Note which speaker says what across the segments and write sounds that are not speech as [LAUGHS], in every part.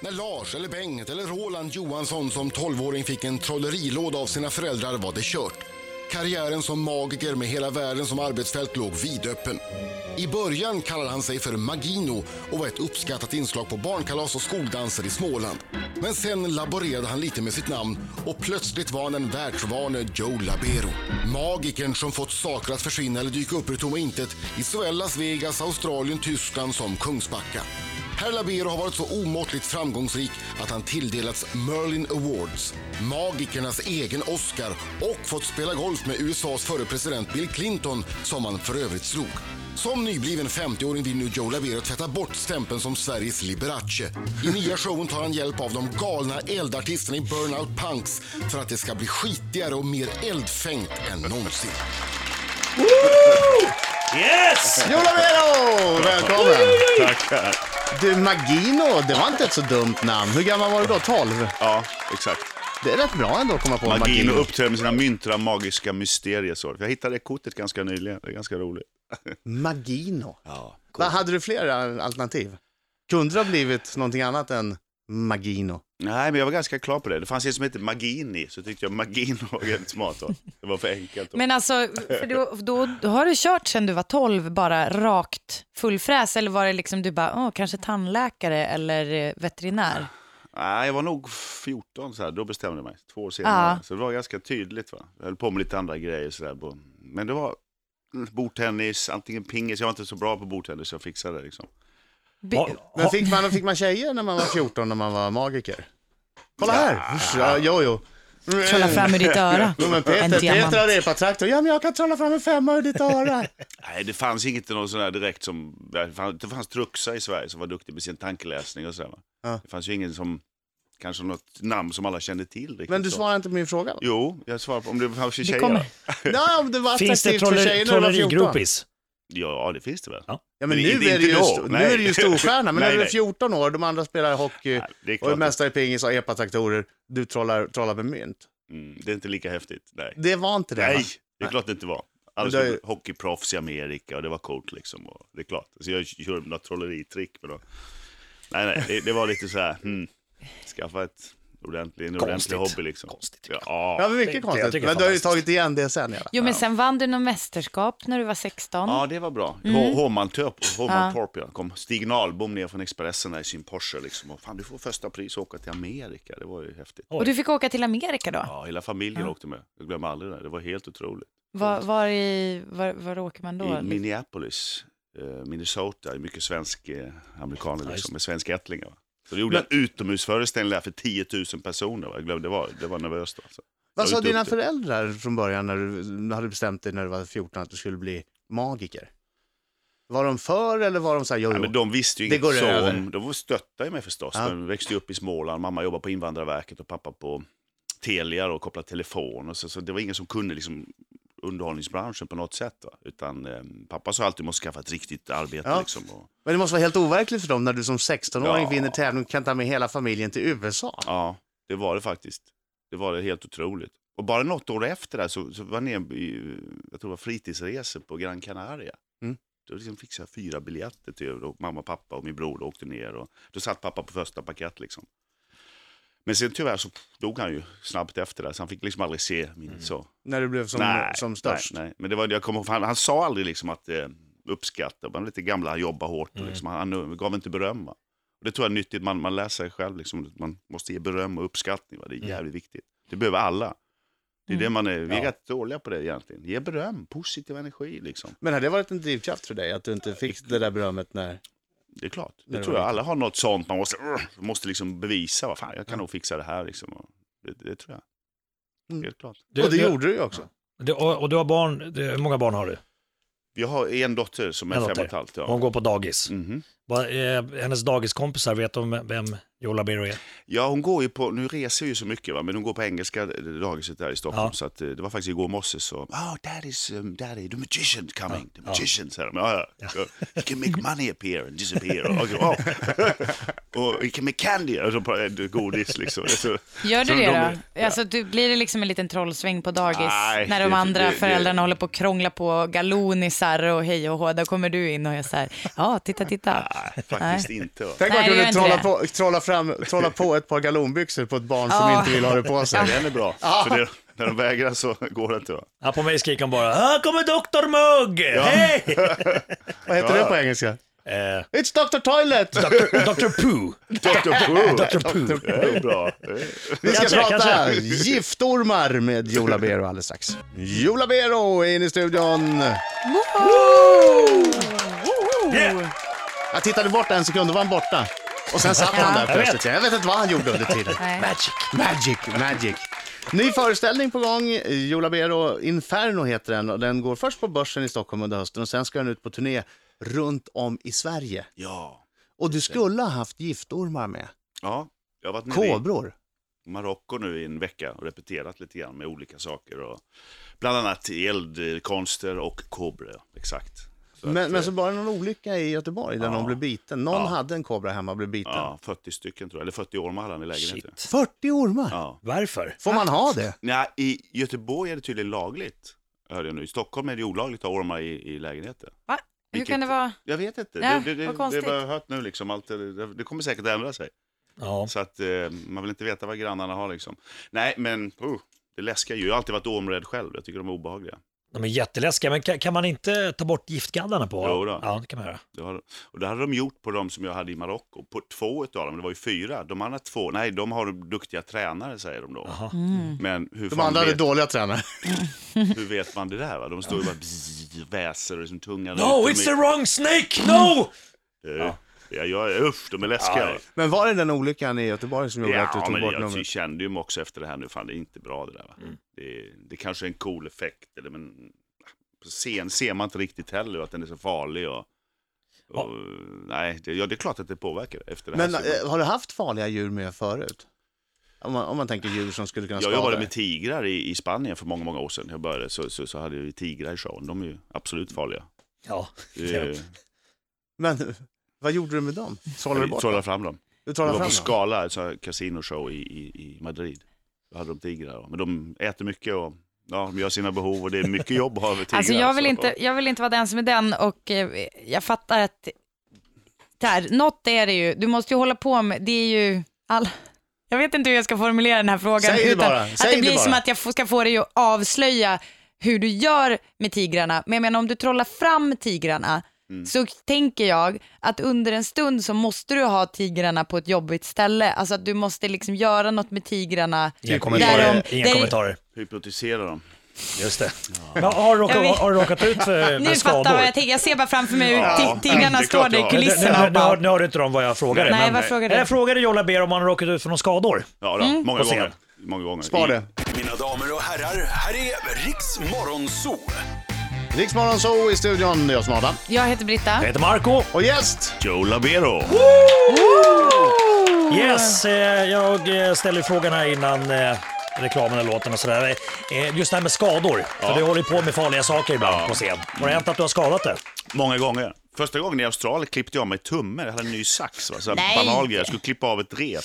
Speaker 1: När Lars, eller Bengt eller Roland Johansson som 12-åring fick en trollerilåda av sina föräldrar var det kört. Karriären som magiker med hela världen som arbetsfält låg vidöppen. I början kallade han sig för Magino och var ett uppskattat inslag på barnkalas och skoldanser i Småland. Men sen laborerade han lite med sitt namn och plötsligt var han den världsvane Joe Labero. Magikern som fått saker att försvinna eller dyka upp ur tomma intet i såväl Las Vegas, Australien, Tyskland som Kungsbacka. Herr Labero har varit så omåttligt framgångsrik att han tilldelats Merlin Awards, magikernas egen Oscar och fått spela golf med USAs förre president Bill Clinton, som han för övrigt slog. Som nybliven 50-åring vill nu Joe Labero tvätta bort stämpeln som Sveriges Liberace. I nya showen tar han hjälp av de galna eldartisterna i Burnout Punks för att det ska bli skitigare och mer eldfängt än någonsin.
Speaker 2: Yes!
Speaker 3: Jola Vero! Välkommen!
Speaker 2: Tackar.
Speaker 3: Du, Magino, det var inte ett så dumt namn. Hur gammal var du då? 12?
Speaker 2: Ja, exakt.
Speaker 3: Det är rätt bra ändå att komma på
Speaker 2: Magin och uppträder med sina myntra magiska mysterier. så. Jag hittade det kortet ganska nyligen, det är ganska roligt.
Speaker 3: Magino. Vad, hade du fler al- alternativ? Kunde det ha blivit någonting annat än Magino?
Speaker 2: Nej, men jag var ganska klar på det. Det fanns en som hette Magini, så tyckte jag [LAUGHS] Magin var helt smart. Då. Det var för enkelt. Då.
Speaker 4: Men alltså, för då, då, då har du kört sen du var 12 bara rakt full fräs eller var det liksom du bara, åh, kanske tandläkare eller eh, veterinär?
Speaker 2: Nej, jag var nog 14, så här. då bestämde jag mig. Två år senare.
Speaker 4: Ja.
Speaker 2: Så det var ganska tydligt. Va? Jag höll på med lite andra grejer. Så där. Men det var mm, bordtennis, antingen pingis. Jag var inte så bra på bordtennis, så jag fixade det. Liksom.
Speaker 4: Be-
Speaker 3: Men fick man, fick man tjejer när man var 14 när man var magiker? Kolla här! Ja, jo, jo.
Speaker 4: Trolla fram ur ditt öra.
Speaker 2: [LAUGHS]
Speaker 3: Jo, men
Speaker 4: en
Speaker 3: Peter,
Speaker 4: diamant.
Speaker 3: Peter har repatraktor. Ja, men jag kan trolla fram en femma ur ditt öra.
Speaker 2: Nej, det fanns inget någon sån här direkt som... Det fanns, det fanns Truxa i Sverige som var duktig med sin tankeläsning och sådär. va?
Speaker 3: Ja.
Speaker 2: Det fanns ju ingen som... Kanske något namn som alla kände till riktigt.
Speaker 3: Men du
Speaker 2: så.
Speaker 3: svarar inte på
Speaker 2: [LAUGHS]
Speaker 3: min fråga.
Speaker 2: Jo, jag svarar på om det fanns tjejer.
Speaker 4: kommer-
Speaker 2: då.
Speaker 3: Ja, om det var
Speaker 5: Finns det
Speaker 3: attraktivt för
Speaker 5: troller-
Speaker 3: tjejer när du var 14.
Speaker 5: trollerigruppies?
Speaker 2: Ja, det finns det väl?
Speaker 5: Ja.
Speaker 3: Ja, men,
Speaker 2: Men
Speaker 3: nu,
Speaker 2: inte-
Speaker 3: är det ju,
Speaker 2: inte då.
Speaker 3: st- nu
Speaker 2: Nej.
Speaker 3: är det ju storstjärna,
Speaker 2: [LAUGHS]
Speaker 3: men
Speaker 2: Nej,
Speaker 3: när du är
Speaker 2: nej.
Speaker 3: 14 år, de andra spelar hockey
Speaker 2: Nej, det är
Speaker 3: och är
Speaker 2: klart.
Speaker 3: mästare i pingis och epatraktorer, du trollar, trollar med mynt.
Speaker 2: Mm, det är inte lika häftigt. Nej,
Speaker 3: Det var inte det va?
Speaker 2: Nej det är klart det inte var. Alla
Speaker 3: Men det är-
Speaker 2: skulle bli hockeyproffs i Amerika och det var coolt liksom. Och det är klart. Så jag kör några trolleritrick. Men då... Nej, nej, det, det var lite så här, hmm, skaffa ett ordentlig, en ordentlig
Speaker 5: Konstigt.
Speaker 2: hobby liksom.
Speaker 5: Konstigt.
Speaker 2: Ja,
Speaker 3: Ja, men mycket
Speaker 5: Det- det- jag
Speaker 3: konstigt.
Speaker 5: tycker
Speaker 3: Men du har ju
Speaker 5: fantastiskt.
Speaker 3: tagit igen det sen. Ja.
Speaker 4: Jo, men sen vann du något mästerskap när du var 16.
Speaker 2: Ja, det var bra. Mm. Hovmantorp, Hovmantorp ja. kom Stig Nahlbom ner från Expressen där i sin Porsche. Liksom. Och fan, du får första pris och åka till Amerika. Det var ju häftigt.
Speaker 4: Och du fick åka till Amerika då?
Speaker 2: Ja, hela familjen åkte med. Jag glömmer aldrig det. där. Det var helt otroligt.
Speaker 4: Var, var, i, var, var åker man då?
Speaker 2: I Minneapolis, eh, Minnesota, är mycket svensk eh, amerikaner liksom, med svenska ättlingar. va. Så det gjorde en utomhusföreställning där för 10 000 personer. Va? Jag glömde, det, var, det var nervöst. Alltså.
Speaker 3: Vad sa
Speaker 2: Jag är
Speaker 3: dina
Speaker 2: duktig.
Speaker 3: föräldrar från början när du när du hade bestämt dig när du var 14 att du skulle bli magiker? Var de för eller var de så här, jo,
Speaker 2: Ja,
Speaker 3: jo.
Speaker 2: men de visste ju
Speaker 3: Det går
Speaker 2: inget så
Speaker 3: över.
Speaker 2: om, de stöttade ju mig förstås.
Speaker 3: Ja.
Speaker 2: De växte ju upp i Småland, mamma jobbade på Invandrarverket och pappa på Telia och kopplade telefon. Och så, så det var ingen som kunde liksom underhållningsbranschen på något sätt. Va? Utan eh, pappa sa alltid, du måste skaffa ett riktigt arbete.
Speaker 3: Ja.
Speaker 2: Liksom, och,
Speaker 3: Men det måste vara helt overkligt för dem när du som 16-åring
Speaker 2: Ja.
Speaker 3: vinner tävling och kan ta med hela familjen till USA.
Speaker 2: ja, det var det faktiskt. Det var det helt otroligt. Och bara något år efter det så, så var jag ner i, jag tror det var fritidsresor på Gran Canaria.
Speaker 3: Mm.
Speaker 2: Då liksom fixade jag fyra biljetter till och mamma, pappa och min bror åkte ner. Och, då satt pappa på första paket liksom. Men sen tyvärr så dog han ju snabbt efter det, så han fick liksom aldrig se min så.
Speaker 3: När du blev som, som störst.
Speaker 2: Nej, nej. Men det var, jag kommer ihåg, för han, han sa aldrig liksom att eh, uppskatta, man är lite gamla, han jobbar hårt och liksom, han, han gav inte beröm. Va? Och det tror jag är nyttigt, man, man lär sig själv, liksom, att man måste ge beröm och uppskattning, va? det är jävligt viktigt. Det behöver alla. Det är det man är, vi är rätt dåliga på det egentligen. Ge beröm, positiv energi liksom.
Speaker 3: Men har det varit en drivkraft för dig att du inte fick det där berömmet när...
Speaker 2: Det är klart, det
Speaker 3: Nej, det
Speaker 2: tror
Speaker 3: var
Speaker 2: jag. Alla har något sånt, man måste, måste liksom bevisa, vad fan, jag kan nog fixa det här liksom. Och Det, det tror jag.
Speaker 3: Mm.
Speaker 2: Helt klart.
Speaker 5: Du-
Speaker 3: och det
Speaker 5: du-
Speaker 3: gjorde du ju också.
Speaker 5: Du, och, och du har barn, du, hur många barn har du?
Speaker 2: Jag har en dotter som är fem
Speaker 5: En
Speaker 2: och
Speaker 5: dotter.
Speaker 2: ett halvt.
Speaker 5: Hon
Speaker 2: Ja.
Speaker 5: går på dagis.
Speaker 2: Mhm.
Speaker 5: Vad, eh, hennes dagiskompisar, vet de vem Joe Labero är?
Speaker 2: Ja, hon går ju på, nu reser ju så mycket va, men hon går på engelska eh, dagiset där i Stockholm.
Speaker 5: Ja.
Speaker 2: Så att, eh, det var faktiskt igår morse så, oh daddy's, um, daddy, the magician coming, the magician, ja. säger de. Ja, ja. He can make money appear and disappear. Okej, wow. och med candy, och så pratar- godis liksom. Det är så-
Speaker 4: Gör du
Speaker 2: så de
Speaker 4: det
Speaker 2: blir-
Speaker 4: då? Alltså, du, blir det liksom en liten trollsväng på dagis?
Speaker 2: Nej,
Speaker 4: när de
Speaker 2: det-
Speaker 4: andra
Speaker 2: det- det-
Speaker 4: föräldrarna håller på och krånglar på galonisar och hej och hå. Då kommer du in och är så här, ja, titta, titta.
Speaker 2: Nej, faktiskt inte. va.
Speaker 3: Tänk
Speaker 4: Nej,
Speaker 3: om man
Speaker 4: det gör
Speaker 3: kunde
Speaker 4: inte
Speaker 3: trolla
Speaker 4: det.
Speaker 3: på, trolla, fram, trolla på ett par galonbyxor på ett barn som
Speaker 4: [LAUGHS] Ja.
Speaker 3: inte vill ha det på sig.
Speaker 2: Den är bra, för det, när de vägrar så går det inte. Va?
Speaker 5: Ja, på mig skriker hon bara ”Här kommer Dr.
Speaker 3: [LAUGHS]
Speaker 5: Mugg! Hej!”
Speaker 3: Vad heter det på engelska?
Speaker 5: eh,
Speaker 3: It's Dr. Toilet!
Speaker 5: Dr. Dr. Pooh.
Speaker 2: Dr.
Speaker 5: [LAUGHS]
Speaker 2: Pooh,
Speaker 5: Dr. Pooh.
Speaker 2: det är bra. Det är-
Speaker 3: Vi ska
Speaker 5: Kanske,
Speaker 3: prata
Speaker 5: kanske.
Speaker 3: giftormar med Jola Bero alldeles strax. Jola Bero är inne i studion.
Speaker 5: Yeah.
Speaker 3: Jag tittade bort en sekund, då var han borta. Och sen satt han där
Speaker 5: Jag vet.
Speaker 3: plötsligt. Jag vet inte vad han gjorde under tiden.
Speaker 4: Nej.
Speaker 5: Magic.
Speaker 3: Magic, magic. Ny föreställning på gång, Jola Bero Inferno heter den. Och den går först på Börsen i Stockholm under hösten och sen ska den ut på turné runt om i Sverige.
Speaker 2: Ja.
Speaker 3: Och du skulle ha haft giftormar med.
Speaker 2: ja, jag har varit nere i
Speaker 3: Kobror.
Speaker 2: Marocko nu i en vecka och repeterat lite grann med olika saker. Och bland annat eldkonster och kobror, exakt. Så att,
Speaker 3: Men, men så
Speaker 2: eh,
Speaker 3: var det någon olycka i Göteborg där
Speaker 2: Ja.
Speaker 3: någon blev biten. Någon
Speaker 2: Ja.
Speaker 3: hade en kobra hemma och blev biten.
Speaker 2: Ja, 40 stycken tror jag, eller 40 ormar hade han i lägenheten.
Speaker 5: Shit.
Speaker 3: 40 ormar!
Speaker 2: Ja.
Speaker 5: Varför?
Speaker 3: Får man ha det?
Speaker 2: Nej, I Göteborg är det tydligen lagligt, hörde jag nu. I Stockholm är det olagligt att ha ormar i, i lägenheter.
Speaker 4: Va? Hur
Speaker 2: Vilket-
Speaker 4: kan det vara?
Speaker 2: Jag vet inte,
Speaker 4: Ja,
Speaker 2: det, det, det,
Speaker 4: vad
Speaker 2: det har
Speaker 4: konstigt.
Speaker 2: jag hört nu liksom. Allt, det, det- det kommer säkert ändra sig.
Speaker 5: Ja.
Speaker 2: Så att eh, man vill inte veta vad grannarna har liksom. Nej, men uh, det läskiga ju. Jag har alltid varit ormrädd själv. Jag tycker de är obehagliga.
Speaker 5: De är jätteläskiga, men kan, kan man inte ta bort giftgaddarna på?
Speaker 2: Jo då.
Speaker 5: Ja, det kan man göra.
Speaker 2: Det har, och det hade de gjort på de som jag hade i Marocko. På två utav dem, det var ju fyra. De andra två, nej, de har duktiga tränare säger de då.
Speaker 5: Jaha.
Speaker 2: Men hur,
Speaker 3: De
Speaker 2: fan
Speaker 3: andra hade
Speaker 2: vet,
Speaker 3: dåliga tränare. [LAUGHS]
Speaker 2: hur vet man det där? Va? De står ju bara bzz, väser och liksom tungan
Speaker 5: No,
Speaker 2: ut.
Speaker 5: it's the wrong snake!
Speaker 3: Mm.
Speaker 5: No!
Speaker 2: the... Ja, jag, jag, usch, de är läskiga. va?
Speaker 3: Men var det den olyckan i Göteborg som gjorde att du
Speaker 2: Ja,
Speaker 3: tog
Speaker 2: men
Speaker 3: bort
Speaker 2: jag ty-
Speaker 3: numret? Mm.
Speaker 2: kände ju mig också efter det här nu, fan det är inte bra det där. Va? Det, det kanske är en cool effekt, eller, men på scen ser man inte riktigt heller att den är så farlig. Och, och,
Speaker 5: Ja.
Speaker 2: Nej, det, ja, det är klart att det påverkar efter det här.
Speaker 3: Men
Speaker 2: så-
Speaker 3: eh, har du haft farliga djur med förut? Om man, om man tänker djur som skulle kunna
Speaker 2: jag
Speaker 3: skada
Speaker 2: jobbade
Speaker 3: dig.
Speaker 2: med tigrar i, i Spanien för många, många år sedan. Jag började så, så, så hade jag ju tigrar i showen. De är ju absolut farliga.
Speaker 5: Ja.
Speaker 2: Eh,
Speaker 3: typ Men [LAUGHS] vad gjorde du med dem? Sållade du
Speaker 2: Jag
Speaker 3: bort
Speaker 2: trollade
Speaker 3: dem?
Speaker 2: fram dem.
Speaker 3: Du
Speaker 2: Det var
Speaker 3: trollade
Speaker 2: på
Speaker 3: fram dem?
Speaker 2: Skala, en sån här casinoshow i, i, i Madrid. Då hade de tigrar. Men de äter mycket och ja, de gör sina behov och det är mycket jobb att ha med tigrar.
Speaker 4: [LAUGHS] Alltså jag vill,
Speaker 2: så-
Speaker 4: inte, jag vill inte vara den som är den och eh, jag fattar att där, något är det ju, du måste ju hålla på med, det är ju, all, jag vet inte hur jag ska formulera den här frågan.
Speaker 3: Säg det bara,
Speaker 4: att
Speaker 3: säg
Speaker 4: det
Speaker 3: det
Speaker 4: blir
Speaker 3: bara.
Speaker 4: som att jag f- ska få dig att avslöja hur du gör med tigrarna. Men jag menar om du trollar fram tigrarna
Speaker 3: Mm.
Speaker 4: så tänker jag att under en stund så måste du ha tigrarna på ett jobbigt ställe. Alltså att du måste liksom göra något med tigrarna.
Speaker 5: Inga
Speaker 4: Där
Speaker 5: kommentarer.
Speaker 4: de-
Speaker 5: Inga
Speaker 4: där-
Speaker 5: kommentarer.
Speaker 2: Hypnotisera dem.
Speaker 5: Just det. Ja, har, du råkat,
Speaker 4: Jag vet-
Speaker 5: har du råkat ut
Speaker 4: [LAUGHS]
Speaker 5: för
Speaker 4: Nu fattar
Speaker 5: för skador?
Speaker 4: jag vad jag tänker. Jag ser bara framför mig hur
Speaker 2: Ja,
Speaker 4: ti- tigrarna
Speaker 2: det är
Speaker 4: står
Speaker 2: klart jag
Speaker 4: där i
Speaker 2: har.
Speaker 5: Nu, nu,
Speaker 4: kulisserna och
Speaker 5: nu,
Speaker 4: bara...
Speaker 5: hör- nu hörde inte de vad jag frågade.
Speaker 4: Nej,
Speaker 5: men-
Speaker 4: vad frågar du?
Speaker 5: Jag frågade Jolla Ber om han har råkat ut för någon skador.
Speaker 2: Ja, då,
Speaker 4: Mm.
Speaker 2: många,
Speaker 5: Och sen.
Speaker 2: gånger, många gånger.
Speaker 3: Spar det.
Speaker 6: Mina damer och herrar, här är Riks Morgonzoo.
Speaker 3: Riksmorgon Zoo i studion, det är jag som är Adam.
Speaker 4: Jag heter Britta.
Speaker 5: Jag heter Marco.
Speaker 3: Och gäst!
Speaker 2: Joe Labero.
Speaker 5: Yes, eh, jag eh, ställer frågan här innan eh, reklamen eller låten och sådär. Eh, Just det här med skador. För du håller ju på med farliga saker ibland på scen. Har det hänt att du har skadat dig?
Speaker 2: Många gånger. Första gången i Australien klippte jag mig tummen. Jag hade en ny sax. Va? Så här
Speaker 4: Nej.
Speaker 2: banal grej. Jag skulle klippa av ett rep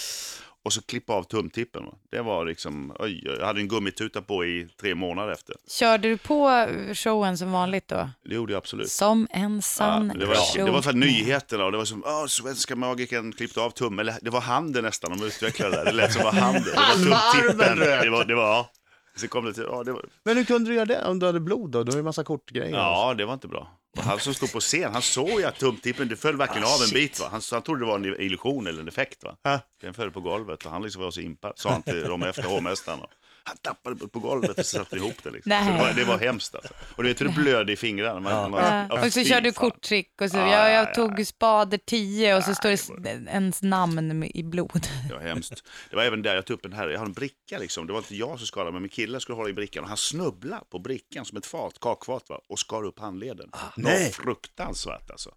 Speaker 2: och så klippa av tumtippen. Va? Det var liksom, oj, jag hade en gummituta på i tre månader efter.
Speaker 4: Körde du på showen som vanligt då?
Speaker 2: Det gjorde jag absolut.
Speaker 4: Som en
Speaker 2: Ja,
Speaker 4: sann
Speaker 2: det var,
Speaker 4: show.
Speaker 2: det var för nyheterna och det var som, "Åh, svenska magikern klippte av tummen. Eller, Det var handen nästan, de utvecklade det där. Det lät som var handen. Det
Speaker 3: Halva
Speaker 2: var
Speaker 3: armen
Speaker 2: tumtippen.
Speaker 3: rök.
Speaker 2: Det var, det var, ja. Sen kom det till, ja, det var,
Speaker 3: Men hur kunde du göra det om du hade blod då? Du har ju massa kortgrejer.
Speaker 2: Ja, det var inte bra. Och han som stod på scen, han såg ju att tumtippen, det föll verkligen av en bit. Va? Han, han trodde det var en illusion eller en effekt. Va?
Speaker 3: Ja.
Speaker 2: Den föll på golvet och han liksom var så impad, sa han till de efter hovmästaren. va. Han tappade på- på golvet och så satte ihop det. Liksom.
Speaker 4: Nej.
Speaker 2: Så det, var, det var hemskt alltså. Och du vet hur det blödde i fingrarna. Man, man,
Speaker 4: Ja.
Speaker 2: ja,
Speaker 4: Och så
Speaker 2: fy
Speaker 4: körde du
Speaker 2: fan.
Speaker 4: korttrick och så.
Speaker 2: Ja,
Speaker 4: Jag,
Speaker 2: ja,
Speaker 4: jag tog spader 10 och så står det s- ens namn med- i blod.
Speaker 2: Det var hemskt. Det var även där jag tog upp en här, jag har en bricka liksom. Det var inte jag som skadade men min kille skulle hålla i brickan och han snubblade på brickan som ett fat, kakfat va? och skar upp handleden. Det var
Speaker 5: nej.
Speaker 2: fruktansvärt alltså.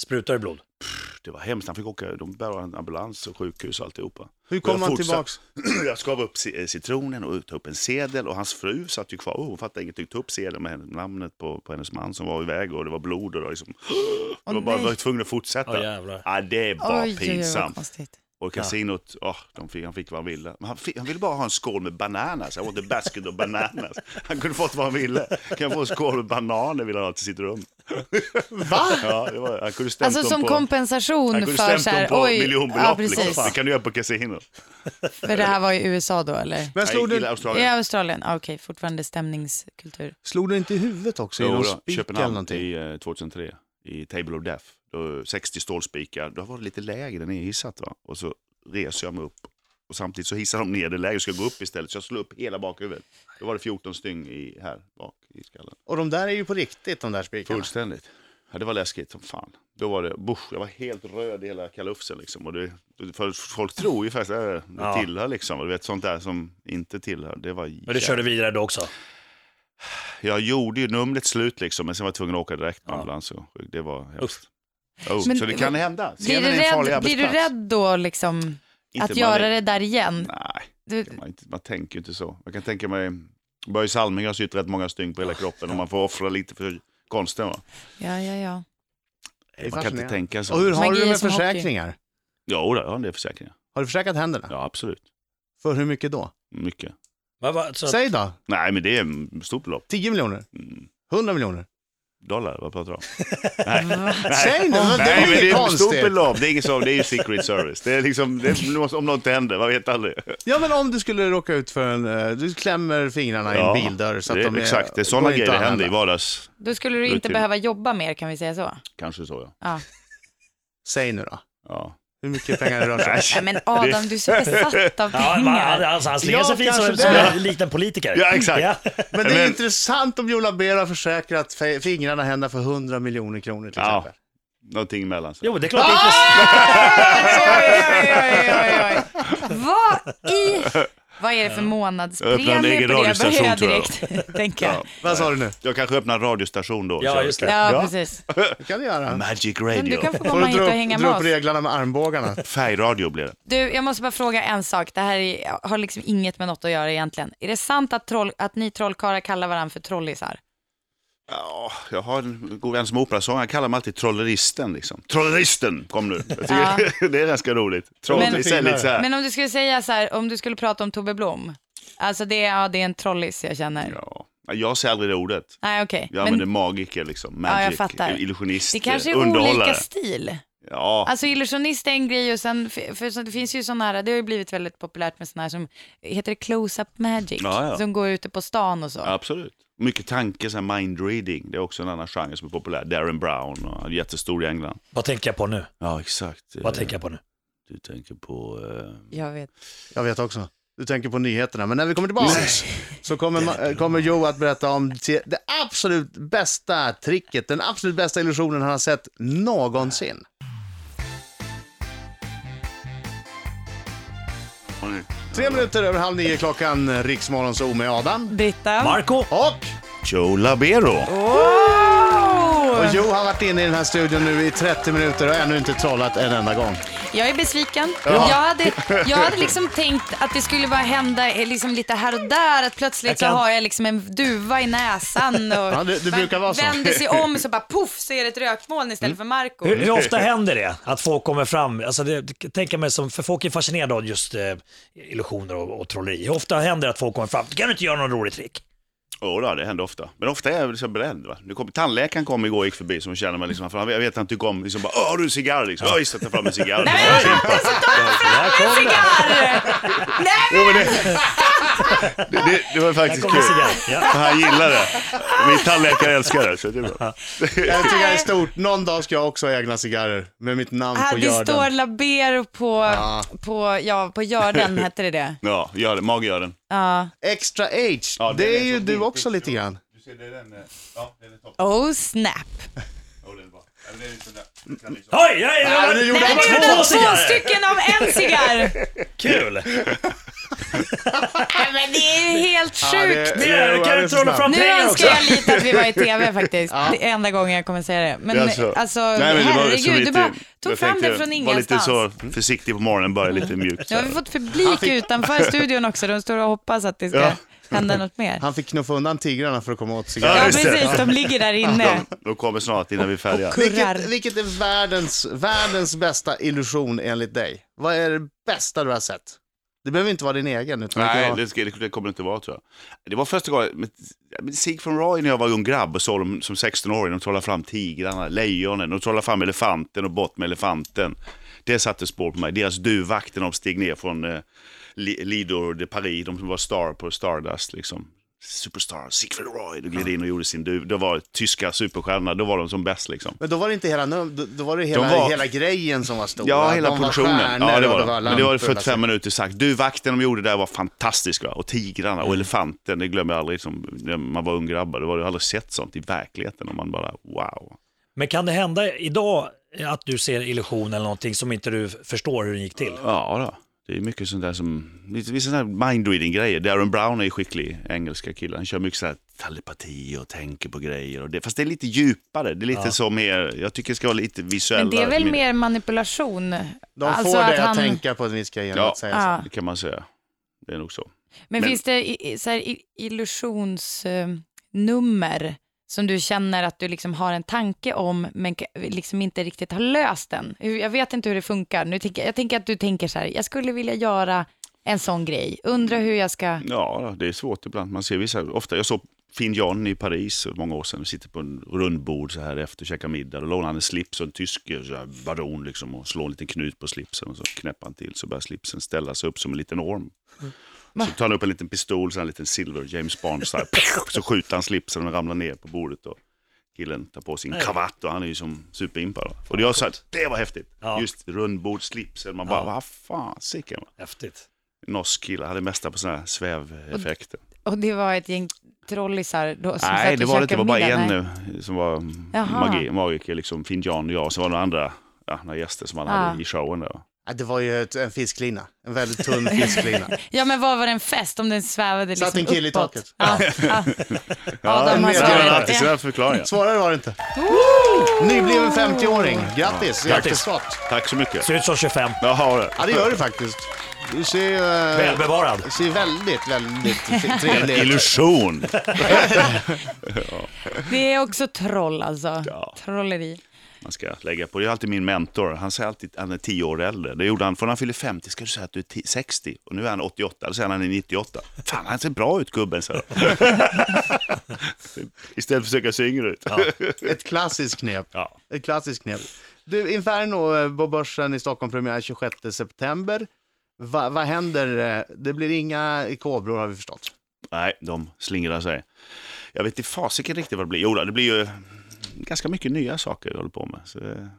Speaker 5: Sprutar i blod.
Speaker 2: det var hemskt. Han fick åka, de bär en ambulans och sjukhus och alltihopa.
Speaker 3: Hur
Speaker 2: Och jag
Speaker 3: kom han
Speaker 2: fortsatte-
Speaker 3: tillbaks?
Speaker 2: [CLEARS THROAT] jag skav upp ci- eh, citronen och tog upp en sedel och hans fru satt ju kvar. Oh, hon fattade ingenting. Tog upp sedeln med henne- namnet på, på hennes man som var iväg och det var blod och det var liksom... [GASPS] det var bara
Speaker 4: nej.
Speaker 2: var tvungen att fortsätta.
Speaker 5: Åh, jävlar.
Speaker 2: ja, det var
Speaker 4: Oj, oj, oj, vad
Speaker 2: pinsamt.
Speaker 4: konstigt.
Speaker 2: Och kasinot, åh, de fick, han fick vad han ville. Men han, fick, han ville bara ha en skål med bananas. I want a basket of bananas. Han kunde fått vad han ville. Kan jag få en skål med bananer vill han ha till sitt rum. Va? Ja, det var, han kunde stämt
Speaker 4: Alltså
Speaker 2: dem
Speaker 4: som
Speaker 2: på,
Speaker 4: kompensation
Speaker 2: Han kunde
Speaker 4: för
Speaker 2: stämt
Speaker 4: så
Speaker 2: dem
Speaker 4: här,
Speaker 2: på
Speaker 4: oj,
Speaker 2: miljonbelopp.
Speaker 4: ja, precis.
Speaker 2: liksom. Det kan du göra på kasinot.
Speaker 4: För det här var i USA då eller?
Speaker 3: Men
Speaker 2: Jag
Speaker 3: slog
Speaker 2: gillar
Speaker 3: du,
Speaker 2: Australien.
Speaker 4: I Australien, ah, okej, fortfarande stämningskultur.
Speaker 3: slog du inte i huvudet också? i
Speaker 2: Jo
Speaker 3: någon
Speaker 2: då,
Speaker 3: spik eller
Speaker 2: Köpenhamn
Speaker 3: någonting?
Speaker 2: i eh, 2003 i Table of Death. Då, 60 stålspikar, då var det lite lägre nedhissat va. Och så reser jag mig upp och samtidigt så hissar de ner det lägre och ska gå upp istället. Så jag slår upp hela bakhuvudet. Då var det 14 styng i, här bak i skallen.
Speaker 3: Och de där är ju på riktigt, de där spikarna.
Speaker 2: Fullständigt. Ja, det var läskigt som fan. Då var det, busch, jag var helt röd i hela kalufsen liksom. Och det, för folk tror ju faktiskt att det
Speaker 5: Ja.
Speaker 2: tillhör liksom. Och du vet sånt där som inte tillhör. Det var
Speaker 5: Men du körde vidare då också?
Speaker 2: Jag gjorde ju numret slut liksom, men sen var jag tvungen att åka direkt med ambulans. Och det var hemskt. Oh,
Speaker 4: Men-
Speaker 2: så det kan hända.
Speaker 4: Blir
Speaker 2: Scenen
Speaker 4: du,
Speaker 2: är en farlig
Speaker 4: rädd, blir du
Speaker 2: arbetsplats.
Speaker 4: rädd då liksom
Speaker 2: Inte
Speaker 4: att
Speaker 2: man
Speaker 4: göra
Speaker 2: är-
Speaker 4: det där igen?
Speaker 2: Nej,
Speaker 4: Du,
Speaker 2: man, inte, man tänker ju inte så. Jag kan tänka mig, Börje Salming har sytt rätt många stygn på hela kroppen och man får offra lite för konsten. Va?
Speaker 4: ja, ja, ja.
Speaker 3: Det är
Speaker 2: Man kan inte
Speaker 3: fascinerande.
Speaker 2: tänka så. oh,
Speaker 3: Och hur har
Speaker 4: Magi
Speaker 3: du det
Speaker 4: är
Speaker 3: med
Speaker 4: som hockey.
Speaker 3: försäkringar?
Speaker 2: Jo, då, jag har en del försäkringar.
Speaker 3: Har du försäkrat händerna?
Speaker 2: Ja, absolut.
Speaker 3: För hur mycket då?
Speaker 2: Mycket.
Speaker 5: Men, vad- så,
Speaker 3: Säg då,
Speaker 2: Nej, men det är ett stort belopp.
Speaker 3: 10 miljoner?
Speaker 2: Mm,
Speaker 3: 100 miljoner?
Speaker 2: dollar, vad pratar du
Speaker 3: [LAUGHS]
Speaker 2: om?
Speaker 3: Säg nu, det
Speaker 2: Nej, men
Speaker 3: är
Speaker 2: det
Speaker 3: inget
Speaker 2: är ett stort
Speaker 3: konstigt.
Speaker 2: belopp. Det är inget så, det är ju secret service. Det är liksom, det är, om något händer, man vet aldrig.
Speaker 3: Ja men om du skulle råka ut för en, eh, du klämmer fingrarna i en bildörr så att
Speaker 2: det,
Speaker 3: de är,
Speaker 2: Exakt, det är
Speaker 3: går
Speaker 2: sådana
Speaker 3: inte
Speaker 2: grejer det
Speaker 3: att
Speaker 2: händer i
Speaker 3: använda.
Speaker 2: vardags.
Speaker 4: Då skulle du inte
Speaker 2: Rutin.
Speaker 4: behöva jobba mer kan vi säga så.
Speaker 2: Kanske så ja.
Speaker 4: Ja.
Speaker 3: Säg nu då,
Speaker 2: ja.
Speaker 3: hur mycket pengar det rör
Speaker 2: [LAUGHS]
Speaker 3: sig om.
Speaker 4: Nej, men Adam, du är så besatt av
Speaker 5: ja, man,
Speaker 4: pengar.
Speaker 5: alltså, han slänger
Speaker 3: Ja,
Speaker 5: sig fin som,
Speaker 3: kanske
Speaker 5: som
Speaker 3: det.
Speaker 5: en liten politiker.
Speaker 2: Ja, exakt.
Speaker 3: Men det är
Speaker 2: Men-
Speaker 3: intressant om Jola Ber har försäkrat fe- fingrarna hända för 100 miljoner kronner till
Speaker 2: Ja.
Speaker 3: exempel.
Speaker 2: Någonting emellan. Så.
Speaker 5: Jo, det är klart det är
Speaker 4: Ah!
Speaker 5: intressant.
Speaker 4: Vad i... Vad är det för
Speaker 2: Öppna en
Speaker 4: månadspremie
Speaker 2: egen
Speaker 4: på det? Jag
Speaker 2: radiostation,
Speaker 4: börjar
Speaker 2: tror jag.
Speaker 4: direkt [LAUGHS] tänka.
Speaker 2: Ja.
Speaker 3: Vad sa du nu?
Speaker 2: Jag kanske öppnar en radiostation då.
Speaker 5: Ja,
Speaker 2: så-
Speaker 5: just det.
Speaker 4: Ja, precis.
Speaker 3: Det kan du göra.
Speaker 2: Magic
Speaker 4: Men du
Speaker 2: radio.
Speaker 4: kan få
Speaker 3: Får du
Speaker 4: komma hit
Speaker 3: dra
Speaker 4: och
Speaker 3: upp,
Speaker 4: hänga med
Speaker 3: dra upp
Speaker 4: oss.
Speaker 3: reglarna med armbågarna?
Speaker 2: Färgradio blir det.
Speaker 4: Du, jag måste bara fråga en sak. Det här är, har liksom inget med något att göra egentligen. Är det sant att, troll, att ni trollkarlar kallar varandra för trollisar?
Speaker 2: Ja, jag har en god vän som är operasångare, han kallar mig alltid trolleristen. Liksom. Trolleristen, kom nu. Jag tycker, [LAUGHS] det är ganska roligt. Trollerist är
Speaker 3: Men-
Speaker 2: lite så [LAUGHS] här.
Speaker 4: Men om du skulle säga så här, om du skulle prata om Tobbe Blom. Alltså det, är- ja, det är en trollis jag känner.
Speaker 2: Ja. Jag säger aldrig det ordet.
Speaker 4: Nej okej.
Speaker 2: Jag
Speaker 4: Men
Speaker 2: använder magiker, liksom.
Speaker 4: jag
Speaker 2: magic,
Speaker 4: fattar.
Speaker 2: illusionist,
Speaker 4: det kanske är
Speaker 2: underhållare.
Speaker 4: olika stil.
Speaker 2: Ja,
Speaker 4: Alltså illusionist är en grej och sen, för, för så- det finns ju sådana här, det har ju blivit väldigt populärt med sådana här som, heter det close-up magic?
Speaker 2: Ja, ja.
Speaker 4: Som går ute på stan och så.
Speaker 2: Absolut. Mycket tanke, så här mind reading. Det är också en annan genre som är populär. Darren Brown, och han är jättestor i England.
Speaker 5: Vad tänker jag på nu?
Speaker 2: Ja, exakt.
Speaker 5: Vad tänker jag på nu?
Speaker 2: Du tänker på... eh,
Speaker 4: Jag vet.
Speaker 3: Jag vet också. Du tänker på nyheterna, men när vi kommer tillbaka så kommer, ma- eh, kommer Joe att berätta om te- det absolut bästa tricket, den absolut bästa illusionen han har sett någonsin. Tre minuter över halv nio klockan, Riksmorgon så med Adam
Speaker 4: Britta?
Speaker 5: Marco?
Speaker 3: och
Speaker 2: Joe Labero.
Speaker 3: Och Joe har varit inne i den här studion nu i 30 minuter och ännu inte trollat en enda gång.
Speaker 4: Jag är besviken. Jag, hade, jag hade liksom tänkt att det skulle bara hända eh, liksom lite här och där, att plötsligt
Speaker 5: Jag
Speaker 4: så
Speaker 5: kan-
Speaker 4: har jag liksom en duva i
Speaker 3: [LAUGHS]
Speaker 4: näsan och
Speaker 3: Ja, det- det
Speaker 4: man
Speaker 3: brukar vara så. Mm.
Speaker 4: vänder sig om så bara poff så är det ett rökmoln istället för Marco.
Speaker 5: Hur,
Speaker 3: [LAUGHS]
Speaker 5: hur ofta händer det att folk kommer fram? Alltså det, det- tänker jag mig som, för folk är fascinerade av just eh, illusioner och, och trolleri. Hur ofta händer det att folk kommer fram? Kan du inte göra någon rolig trick?
Speaker 2: Jo då, det händer ofta. Men ofta är jag liksom beredd. Va? Nu kom, tandläkaren kom igår och gick förbi, som känner mig. Liksom, för han, jag vet att han tycker om... Liksom, bara, "Åh, har du en cigarr? Liksom. Ja, just det, ta fram en cigarr.
Speaker 4: Nej men jag har så tagit fram en cigarr! Nej men!
Speaker 2: det, det, det var faktiskt
Speaker 5: Kommer
Speaker 2: kul.
Speaker 5: cigarr. Ja.
Speaker 2: Han gillar det. Min tandläkare älskar det. Så det är bra.
Speaker 3: Jag tycker det är stort. Någon dag ska jag också ha egna cigarrer med mitt namn
Speaker 4: Ah,
Speaker 3: på
Speaker 4: det står
Speaker 3: görden.
Speaker 4: Labero på, på, ja,
Speaker 3: [LAUGHS]
Speaker 4: på görden, hette det det?
Speaker 2: Ja, gör det. Mag gör den.
Speaker 4: Ja.
Speaker 3: Extra H,
Speaker 2: Ja,
Speaker 3: det
Speaker 2: den
Speaker 3: är
Speaker 2: är
Speaker 3: ju
Speaker 2: så
Speaker 3: du
Speaker 2: fin.
Speaker 3: också lite grann.
Speaker 2: Du ser, det är den. eh, Ja, den är topp.
Speaker 4: Oh snap.
Speaker 2: Oh, den är bra. Ja, men det är inte den där.
Speaker 5: Oj, oj, oj,
Speaker 3: men nu
Speaker 5: oj.
Speaker 3: gjorde
Speaker 4: Nej,
Speaker 3: han
Speaker 4: men
Speaker 5: två
Speaker 4: jag har
Speaker 3: [LAUGHS]
Speaker 4: två
Speaker 5: cigarrer.
Speaker 4: stycken av en cigarr!
Speaker 5: Kul!
Speaker 4: Nej, men det är ju helt
Speaker 3: Ja, det-
Speaker 4: sjukt.
Speaker 3: det-
Speaker 5: Där
Speaker 3: ja,
Speaker 5: kan
Speaker 3: det
Speaker 5: du
Speaker 3: är så
Speaker 5: trolla fram
Speaker 3: snabbt.
Speaker 4: Nu
Speaker 5: pengar också.
Speaker 4: önskar jag lite att
Speaker 2: [LAUGHS]
Speaker 4: vi var i tv faktiskt. Det är enda gången jag kommer säga det. Men
Speaker 2: Det är
Speaker 4: alltså,
Speaker 2: Nej, men det var så
Speaker 4: herregud,
Speaker 2: lite-
Speaker 4: du bara
Speaker 2: jag
Speaker 4: tog fram
Speaker 2: tänkte
Speaker 4: det från
Speaker 2: Var lite
Speaker 4: ingenstans.
Speaker 2: så försiktig på morgonen, börja lite mjukt. så
Speaker 4: Nu har
Speaker 2: här.
Speaker 4: vi fått
Speaker 2: [LAUGHS]
Speaker 4: publik utanför studion också. De står och hoppas att det ska
Speaker 2: Ja.
Speaker 4: hända något mer.
Speaker 3: Han fick knuffa undan tigrarna för att komma åt
Speaker 4: Ja,
Speaker 2: Ja,
Speaker 3: cigaretten.
Speaker 2: just det.
Speaker 4: precis. De ligger där inne.
Speaker 2: De kommer snart innan vi är färdiga.
Speaker 4: Kurrar.
Speaker 3: vilket, vilket är världens, världens bästa illusion enligt dig? Vad är det bästa du har sett? Det behöver inte vara din egen. Utan det kan
Speaker 2: Nej,
Speaker 3: vara-
Speaker 2: det, ska, det kommer det inte vara tror jag. Det var första gången, med, med Sig från Roy när jag var ung grabb och såg dem som 16-åring, de trollade fram tigrarna, lejonen, de trollade fram elefanten och bort med elefanten. Det satte spår på mig. Deras duvvakter när de steg ner från eh, Li- Lido de Paris, de som var star på Stardust liksom. Superstar, Siegfried Roy, de gled in och gjorde sin duv. Det var tyska superstjärnorna, då var de som bäst liksom.
Speaker 3: Men då var det inte hela, num- då, då var det hela,
Speaker 2: De var-
Speaker 3: hela grejen som var stor.
Speaker 2: Ja,
Speaker 3: va?
Speaker 2: hela
Speaker 3: de
Speaker 2: produktionen.
Speaker 3: Var stjärnor
Speaker 2: ja, det
Speaker 3: och
Speaker 2: var det. Men det var
Speaker 3: lampor och
Speaker 2: 45 minuter sagt. Du, vakten de gjorde där var fantastisk. Va? Och tigrarna och elefanten, det glömmer jag aldrig. Som, när man var ung grabbar, det var jag aldrig sett sånt i verkligheten. Och man bara, wow.
Speaker 5: Men kan det hända idag att du ser illusion eller någonting som inte du förstår hur den gick till?
Speaker 2: Ja, då. det är mycket sånt där som, lite vissa sådana här mindreading-grejer. Darren Brown är ju skicklig, engelska killen. Han kör mycket sådär telepati och tänker på grejer. Och det, fast det är lite djupare. Det är lite så mer, jag tycker det ska vara lite visuellare.
Speaker 4: Men det är väl
Speaker 2: Min-
Speaker 4: mer manipulation?
Speaker 3: De får
Speaker 4: Alltså
Speaker 3: dig att
Speaker 4: att han-
Speaker 3: tänka på ett vis grej genom
Speaker 2: Ja.
Speaker 3: att säga så.
Speaker 4: Ja.
Speaker 2: Det kan man säga. Det är nog så.
Speaker 4: Men,
Speaker 2: Men-
Speaker 4: finns det i- i- så här i- illusionsnummer som du känner att du liksom har en tanke om men ka- liksom inte riktigt har löst den? Hur- Jag vet inte hur det funkar. Nu tänker, jag tänker att du tänker så här, jag skulle vilja göra en sån grej. Undrar hur jag ska...
Speaker 2: Ja, det är svårt ibland. Man ser vissa, ofta, jag såg Finn Jan i Paris för många år sedan. Vi sitter på en rundbord så här efter och käkar middag. Då lånar han en slips och en tysk eh, så här, baron liksom, och slår en liten knut på slipsen och så knäpper han till så börjar slipsen ställa sig upp som en liten orm. Så tar han upp en liten pistol, så här, en liten silver James Bond, så, här, så skjuter han slipsen och ramlar ner på bordet. Och killen tar på sin kravatt och han är ju som superimpad. va. Och jag sa att det var häftigt.
Speaker 5: Ja.
Speaker 2: Just rundbord, slipsen, man bara, vad fasiken. va.
Speaker 5: Häftigt.
Speaker 2: Norsk kille, hade mästare på sådana här sväveffekter.
Speaker 4: Och det var ett gäng trollisar då som
Speaker 2: Nej,
Speaker 4: satt
Speaker 2: det
Speaker 4: och
Speaker 2: var det inte. Det
Speaker 4: käkade
Speaker 2: var bara
Speaker 4: middag.
Speaker 2: en
Speaker 4: Nej.
Speaker 2: eh, som var mm,
Speaker 4: Jaha.
Speaker 2: magi, magiker, liksom Finn Jan och jag. Och så var det några andra ja, några gäster som han
Speaker 4: Ja.
Speaker 2: hade i showen. Där.
Speaker 3: Ja, det var ju ett, en fisklina. En
Speaker 4: [LAUGHS]
Speaker 3: väldigt tunn fisklina.
Speaker 4: Ja, men vad var det en fest om den svävade liksom
Speaker 3: Satt en kille i
Speaker 4: uppåt?
Speaker 3: taket.
Speaker 2: [LAUGHS]
Speaker 4: Ja, ja. Adam har
Speaker 2: Han har
Speaker 3: men-
Speaker 4: svarat
Speaker 2: alltid
Speaker 4: det.
Speaker 2: sina förklaringar.
Speaker 3: Svårare var det inte. Nybliven 50-åring. Grattis i efterskott.
Speaker 2: Tack så mycket.
Speaker 5: Ser ut som 25.
Speaker 2: Jaha, det.
Speaker 3: Ja, det gör du faktiskt. Du ser ju... eh,
Speaker 5: Välbevarad.
Speaker 3: Du ser väldigt,
Speaker 4: [LAUGHS]
Speaker 3: väldigt trevlig ut.
Speaker 2: Illusion.
Speaker 4: Det är också troll alltså.
Speaker 2: Ja.
Speaker 4: Trolleri.
Speaker 2: Man ska lägga på. Det är alltid min mentor. Han säger alltid att han är 10 år äldre. Det gjorde han. För när han fyllde 50 ska du säga att du är 10 60. Och nu är han 88. Då säger han att han är 98. Fan, han ser bra ut gubben, säger
Speaker 4: [LAUGHS]
Speaker 2: han. Istället för att försöka se yngre ut.
Speaker 3: Ett klassiskt knep.
Speaker 2: Ja.
Speaker 3: Ett klassiskt knep. Du, Inferno eh, på Börsen i Stockholm, premiär 26 september. Va, vad händer? eh, Det blir inga kobror har vi förstått.
Speaker 2: Nej, de slingrar sig. Jag vet inte fasiken riktigt vad det blir. Jo, det blir ju eh, ganska mycket nya saker jag håller på med. Så det är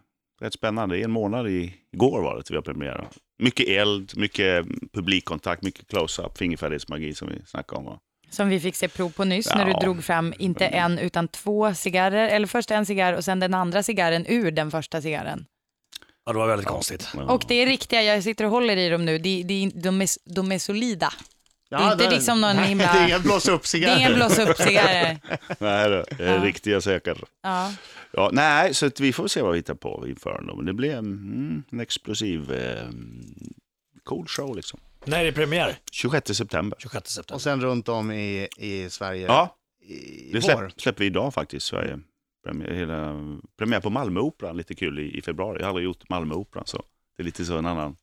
Speaker 2: rätt spännande. I en månad i, igår var det till vi har premiär. Mycket eld, mycket publikkontakt, mycket close-up, fingerfärdighetsmagi som vi snackade om. va?
Speaker 4: Som vi fick se prov på nyss när du
Speaker 2: Ja. Mm.
Speaker 4: drog fram inte en utan två cigarrer. Eller först en cigarr och sen den andra cigarren ur den första cigarren.
Speaker 5: Ja, det var väldigt konstigt.
Speaker 2: Men-
Speaker 4: Och det är riktiga, jag sitter och håller i dem nu, de, de, de, är, de är solida.
Speaker 3: Ja,
Speaker 4: Det är inte liksom någon
Speaker 3: Nej, [LAUGHS]
Speaker 4: himla-
Speaker 3: Det är inga blås upp
Speaker 4: [LAUGHS] Det är inga
Speaker 3: cigarrer.
Speaker 2: [LAUGHS]
Speaker 4: blås upp-cigarrer.
Speaker 2: Nej, det är riktiga säkert.
Speaker 4: Ja.
Speaker 2: Ja, nej, så att vi får se vad vi hittar på inför dem. Men det blir mm, en explosiv, eh, cool show liksom.
Speaker 5: När är det premiär?
Speaker 2: 26 september.
Speaker 5: 26 september.
Speaker 3: Och sen runt om i, i Sverige
Speaker 2: Ja,
Speaker 3: i
Speaker 2: Det
Speaker 3: vår.
Speaker 2: släpp, släpper vi idag faktiskt, Sverige. Premiär, hela, premiär på Malmöoperan, lite kul i, i februari. Jag har aldrig gjort Malmöoperan, så det är lite så en annan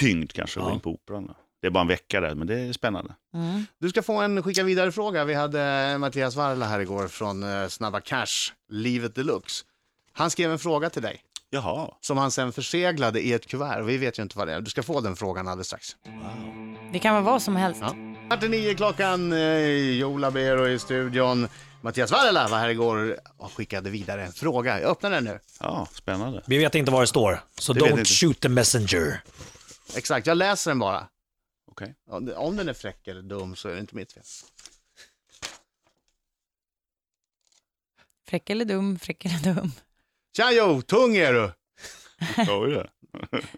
Speaker 2: tyngd kanske att gå
Speaker 5: Ja.
Speaker 2: in på operan. Det är bara en vecka där, men det är spännande.
Speaker 4: Mm.
Speaker 3: Du ska få en skicka vidare-fråga. Vi hade eh, Mattias Varla här igår från eh, Snabba Cash, Livet Deluxe. Han skrev en fråga till dig
Speaker 2: Jaha,
Speaker 3: som han sen förseglade i ett kuvert. Vi vet ju inte vad det är. Du ska få den frågan alldeles strax.
Speaker 4: Det kan vara vad som helst.
Speaker 3: Ja. Kvart i nio klockan, eh, Joe Labero i studion. Mattias Varela var här igår och skickade vidare en fråga. Jag öppnar den nu.
Speaker 2: ja, spännande.
Speaker 5: Vi vet inte vad det står, så
Speaker 2: Det vet
Speaker 5: don't
Speaker 2: inte.
Speaker 5: shoot the messenger.
Speaker 3: Exakt, jag läser den bara.
Speaker 2: Okej.
Speaker 3: Om det- Om den är fräck eller dum så är det inte mitt fel.
Speaker 4: Fräck eller dum, fräck eller dum.
Speaker 2: Mm.
Speaker 3: Tja Jo, tung är du!
Speaker 2: Oj då.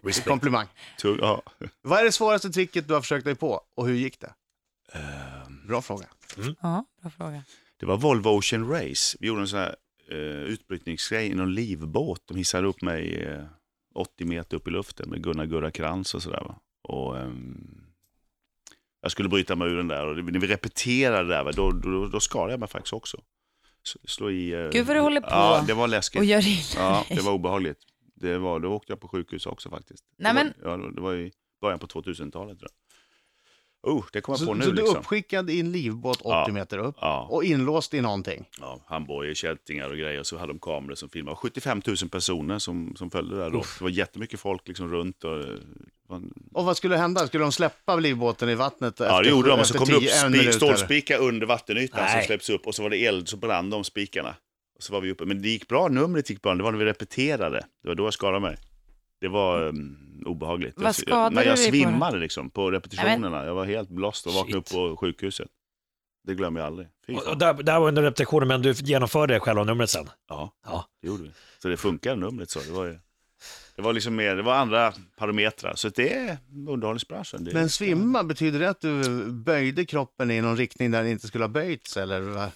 Speaker 6: Respekt.
Speaker 3: Komplimang.
Speaker 2: Tung, ja.
Speaker 3: Vad är det svåraste tricket du har försökt dig på och hur gick det?
Speaker 2: Ehm,
Speaker 3: Bra fråga.
Speaker 4: Ja, bra fråga.
Speaker 2: Det var Volvo Ocean Race. Vi gjorde en sån här eh, utbrytningsgrej i någon livbåt. De hissade upp mig eh, 80 meter upp i luften med Gunnar Gurra Krantz och sådär. Va? Och, ehm, jag skulle bryta mig ur den där och det- när vi repeterade det där, va, då, då, då skadade jag mig faktiskt också. S- Slå i... Eh,
Speaker 4: Gud, vad du håller på.
Speaker 2: Ja, det var läskigt.
Speaker 4: Och gör illa
Speaker 2: Ja,
Speaker 4: dig.
Speaker 2: det var obehagligt. Det var, då åkte jag på sjukhus också faktiskt.
Speaker 4: Nej, men-
Speaker 2: det, var, ja, det var i början på 2000-talet tror jag. Oh, det kommer jag
Speaker 3: Så,
Speaker 2: på nu
Speaker 3: så du är
Speaker 2: liksom.
Speaker 3: uppskickad i en livbåt 80
Speaker 2: Ja.
Speaker 3: meter upp
Speaker 2: Ja.
Speaker 3: och inlåst i någonting.
Speaker 2: ja, handbojor, kättingar och grejer. Så hade de kameror som filmade. 75 000 personer som, som följde där då. Det var jättemycket folk liksom runt. Och, eh, det var en-
Speaker 3: Och vad skulle hända? Skulle de släppa livbåten i vattnet
Speaker 2: ja, det gjorde de. Och så kom det upp
Speaker 3: en
Speaker 2: spi-
Speaker 3: minut, eller?
Speaker 2: stålspikar under vattenytan som
Speaker 5: Nej.
Speaker 2: släpps upp. Och så var det eld, så brann de spikarna. Och så var vi uppe. Men det gick bra, numret gick bra. Det var när vi repeterade. Det var då jag skadade mig. Det var ehm, obehagligt.
Speaker 4: Vad
Speaker 2: Jag-
Speaker 4: skadade
Speaker 2: jag, jag
Speaker 4: du dig på då?
Speaker 2: svimmade liksom på repetitionerna. Jag var helt blåst och vaknade upp
Speaker 5: Shit.
Speaker 2: på sjukhuset. Det glömmer jag aldrig. Fy
Speaker 5: Och,
Speaker 2: fan.
Speaker 5: och där, där var under repetitionen, men du genomförde själva numret sen.
Speaker 2: Ja,
Speaker 5: Ja.
Speaker 2: det gjorde vi. Så det funkar numret så. Det var, ju, det var liksom mer, det var andra parametrar. Så det är underhållningsbranschen. Det,
Speaker 3: Men svimma, betyder det att du böjde kroppen i någon riktning där den inte skulle ha böjts? Eller? vad?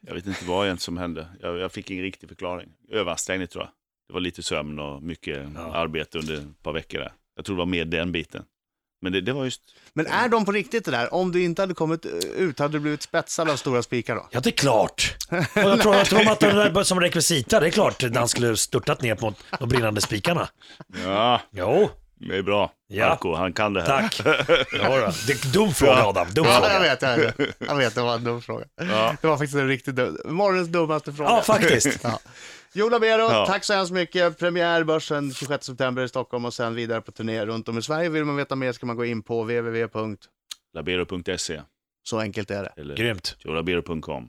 Speaker 2: Jag vet inte vad egentligen som hände. Jag, jag fick ingen riktig förklaring. Överansträngning tror jag. Det var lite sömn och mycket arbete under ett par veckor där. Jag tror det var mer den biten. Men det, det var just...
Speaker 3: Men är de på riktigt det där? Om du inte hade kommit eh, ut, hade du blivit spetsad av stora spikar då?
Speaker 5: Ja, det är klart. [LAUGHS] Och jag tror, jag tror att det där som rekvisita, det är klart, när han skulle störtat ner mot de brinnande spikarna.
Speaker 2: Ja,
Speaker 5: Jo,
Speaker 2: det är bra.
Speaker 5: Ja.
Speaker 2: Marco, han kan det här.
Speaker 5: tack. Ja, då. det är dum fråga Adam, dum
Speaker 3: Ja, jag
Speaker 5: fråga.
Speaker 3: vet, jag vet. Jag vet, det var en dum fråga. Det var faktiskt en riktigt dum. Morgonens dummaste fråga.
Speaker 5: Ja, faktiskt.
Speaker 3: Ja. Joe Labero,
Speaker 2: Ja.
Speaker 3: tack så hemskt mycket. Premiär Börsen 26 september i Stockholm och sen vidare på turné runt om i Sverige. Vill man veta mer ska man gå in på www.
Speaker 2: Labero.se
Speaker 3: Så enkelt är det.
Speaker 2: E, eller
Speaker 5: Grymt.
Speaker 2: labero.com.